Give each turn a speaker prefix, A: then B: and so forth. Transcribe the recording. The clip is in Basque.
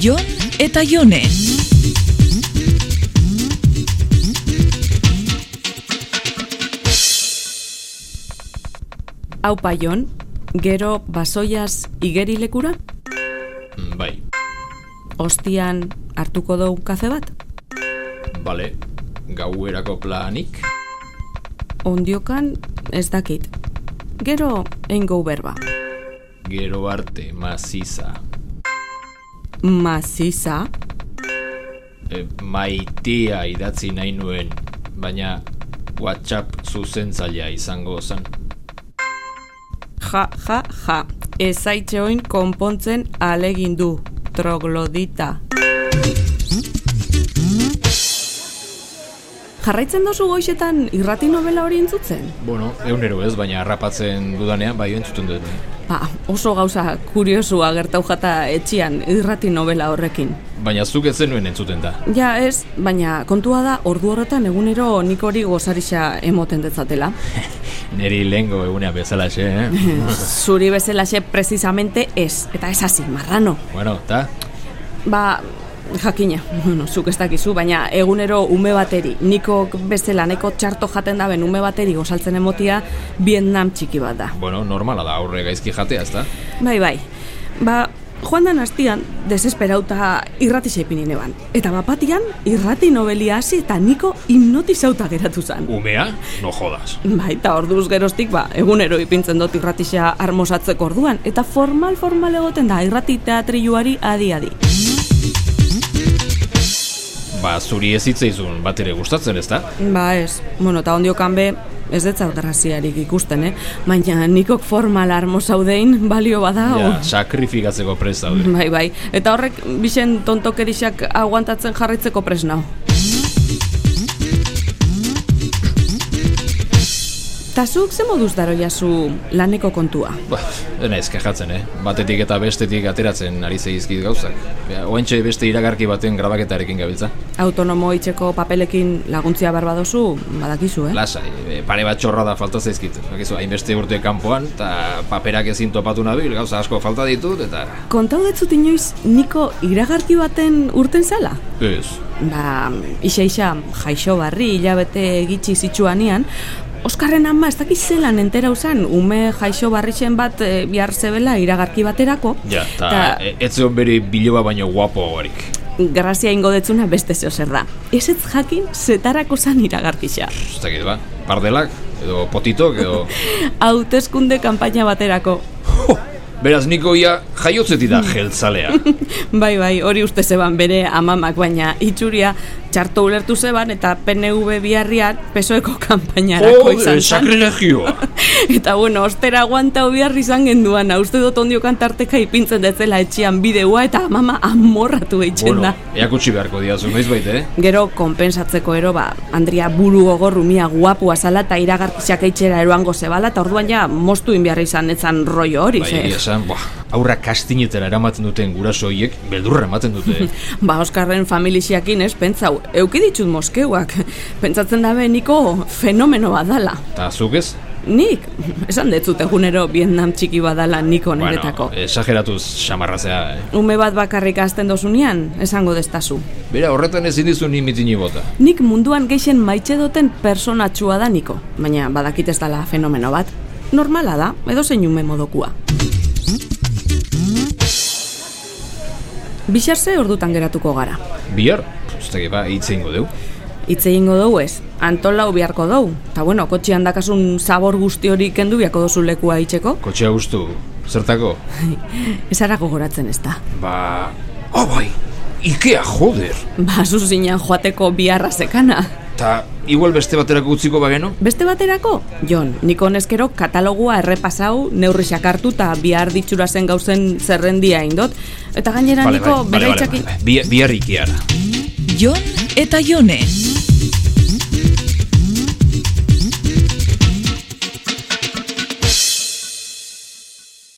A: Jon eta Jone.
B: Hau paion, gero basoiaz igerilekura,
C: Mm, Bai,
B: ostian hartuko dugu kafe bat,
C: bale, gauerako planik,
B: ondiokan ez dakit. Gero eingo berba.
C: gero arte maziza,
B: Maziza,
C: e, maitia idatzi nahi nuen, baina WhatsApp zuzentzailea izango zen.
B: ja, ja, ja, ezaitxe oin konpontzen alegin du, troglodita. Jarraitzen dozu goizetan irrati novela hori entzutzen?
C: Bueno, eunero ez, baina harrapatzen dudanean bai entzuten dut. bai.
B: Ba, oso gauza kuriosua gertau jata etxian irrati novela horrekin.
C: Baina zuk ez zenuen entzuten da.
B: Ja ez, baina kontua da ordu horretan egunero nik hori gozarixa emoten detzatela.
C: Neri lehengo egunea bezalaxe, eh?
B: Zuri bezalaxe precisamente ez, eta ez hasi, marrano.
C: bueno, ta?
B: Ba, jakina, bueno, zuk ez dakizu, baina egunero ume bateri, niko bezala neko txarto jaten daben ume bateri gozaltzen emotia Vietnam txiki bat da.
C: Bueno, normala da, aurre gaizki jatea, ezta?
B: Bai, bai. Ba, joan dan astian, desesperauta irrati seipin neban. Eta bapatian, irrati novelia hasi eta niko hipnotizauta geratu zan.
C: Umea? No jodas.
B: Bai, eta orduz geroztik, ba, egunero ipintzen dut irratisa armosatzeko orduan, eta formal-formal egoten da irrati teatriluari adi-adi.
C: Ba, zuri ez hitzaizun bat ere gustatzen, ezta?
B: Ba ez, bueno, eta ondiokan be, ez detzat graziarik ikusten, eh? Baina nikok formal armosaudein balio bada,
C: Ja,
B: o-
C: sakrifikatzeko prest daude.
B: Bai, bai, eta horrek bixen tontokerixak aguantatzen jarraitzeko presnao. Ta zuk ze moduz daroiazu laneko kontua?
C: Ba, ez naiz kajatzen, eh? Batetik eta bestetik ateratzen ari zeizkit gauzak. Ja, Oentxe beste iragarki baten grabaketarekin gabiltza.
B: Eh? Autonomo itxeko papelekin laguntzia barbadozu, badakizu, eh?
C: Lasai, e, pare bat txorra da falta zaizkit. Bakizu, hainbeste urte kanpoan, eta paperak ezin topatu nabil, gauza asko falta ditut, eta...
B: Kontau detzut inoiz niko iragarki baten urten zala?
C: Ez,
B: ba, isa isa jaixo barri hilabete gitxi zitsuanean, Oskarren ama ez dakiz zelan entera usan, ume jaixo barrixen bat e, bihar zebela iragarki baterako,
C: ja, eta e, ez zeon bere biloba baino guapo horik.
B: grazia ingo detzuna beste zeo zer da. Ez ez jakin zetarako zan iragarkixa.
C: Ez dakit, ba, pardelak, edo potitok, edo...
B: Hautezkunde kanpaina baterako.
C: Ho! Beraz, niko ia jaiotzetik da jeltzalea.
B: Bai, bai, hori uste zeban bere amamak, baina itxuria txarto ulertu zeban eta PNV biharrian pesoeko E kanpainarako
C: Jode,
B: izan zan.
C: sakrilegioa!
B: Eta bueno, ostera aguanta bihar izan genduan, uste dut ondiokan tarteka ipintzen detzela etxean bideua eta mama amorratu eitzen
C: bueno,
B: da.
C: eakutsi beharko diazu, noiz baita, eh?
B: Gero konpensatzeko ero ba, Andrea buru ogorrumia guapua zala eta iragarkisak eitxera eroango zebala eta orduan ja moztu in behar izan etzan rollo hori,
C: Bai,
B: ze.
C: egia esan, buah, aurra kastinetara eramaten duten guraso horiek beldurra ematen dute.
B: Ba, Oskarren familixiakin ez, pentsau, eukiditxut moskeuak, pentsatzen dabe niko fenomeno badala.
C: Eta zuk ez?
B: Nik, esan detzut egunero Vietnam txiki badala niko niretako.
C: Bueno, esageratuz xamarrazea, eh?
B: Ume bat bakarrik hasten dozunean, esango destazu.
C: Bera, horretan ezin dizu ni mitini bota.
B: Nik munduan geixen maitxe duten personatxua da niko, baina badakit ez dala fenomeno bat. Normala da, edo zein ume modokua. Bixar ze ordutan geratuko gara.
C: Bihar? Zutegi, ba, hitz egingo deu.
B: Itze egingo dugu ez, antolau biharko dugu. Ta bueno, kotxean dakasun zabor guzti hori kendu biako dozu lekua itxeko.
C: Kotxea gustu, zertako?
B: Esara gogoratzen ez da.
C: Ba... Oh, bai! Ikea, joder!
B: Ba, zuzinan joateko biharra sekana.
C: Ta, igual beste baterako utziko bagenu?
B: Beste baterako, Jon, nik honezkero katalogua errepasau, neurrisak hartu eta bihar ditxura zen gauzen zerrendia indot. Eta gainera niko
C: bale,
B: beraitzakin...
C: bale. Bi- Bihar ikeara.
A: Jon eta Jone.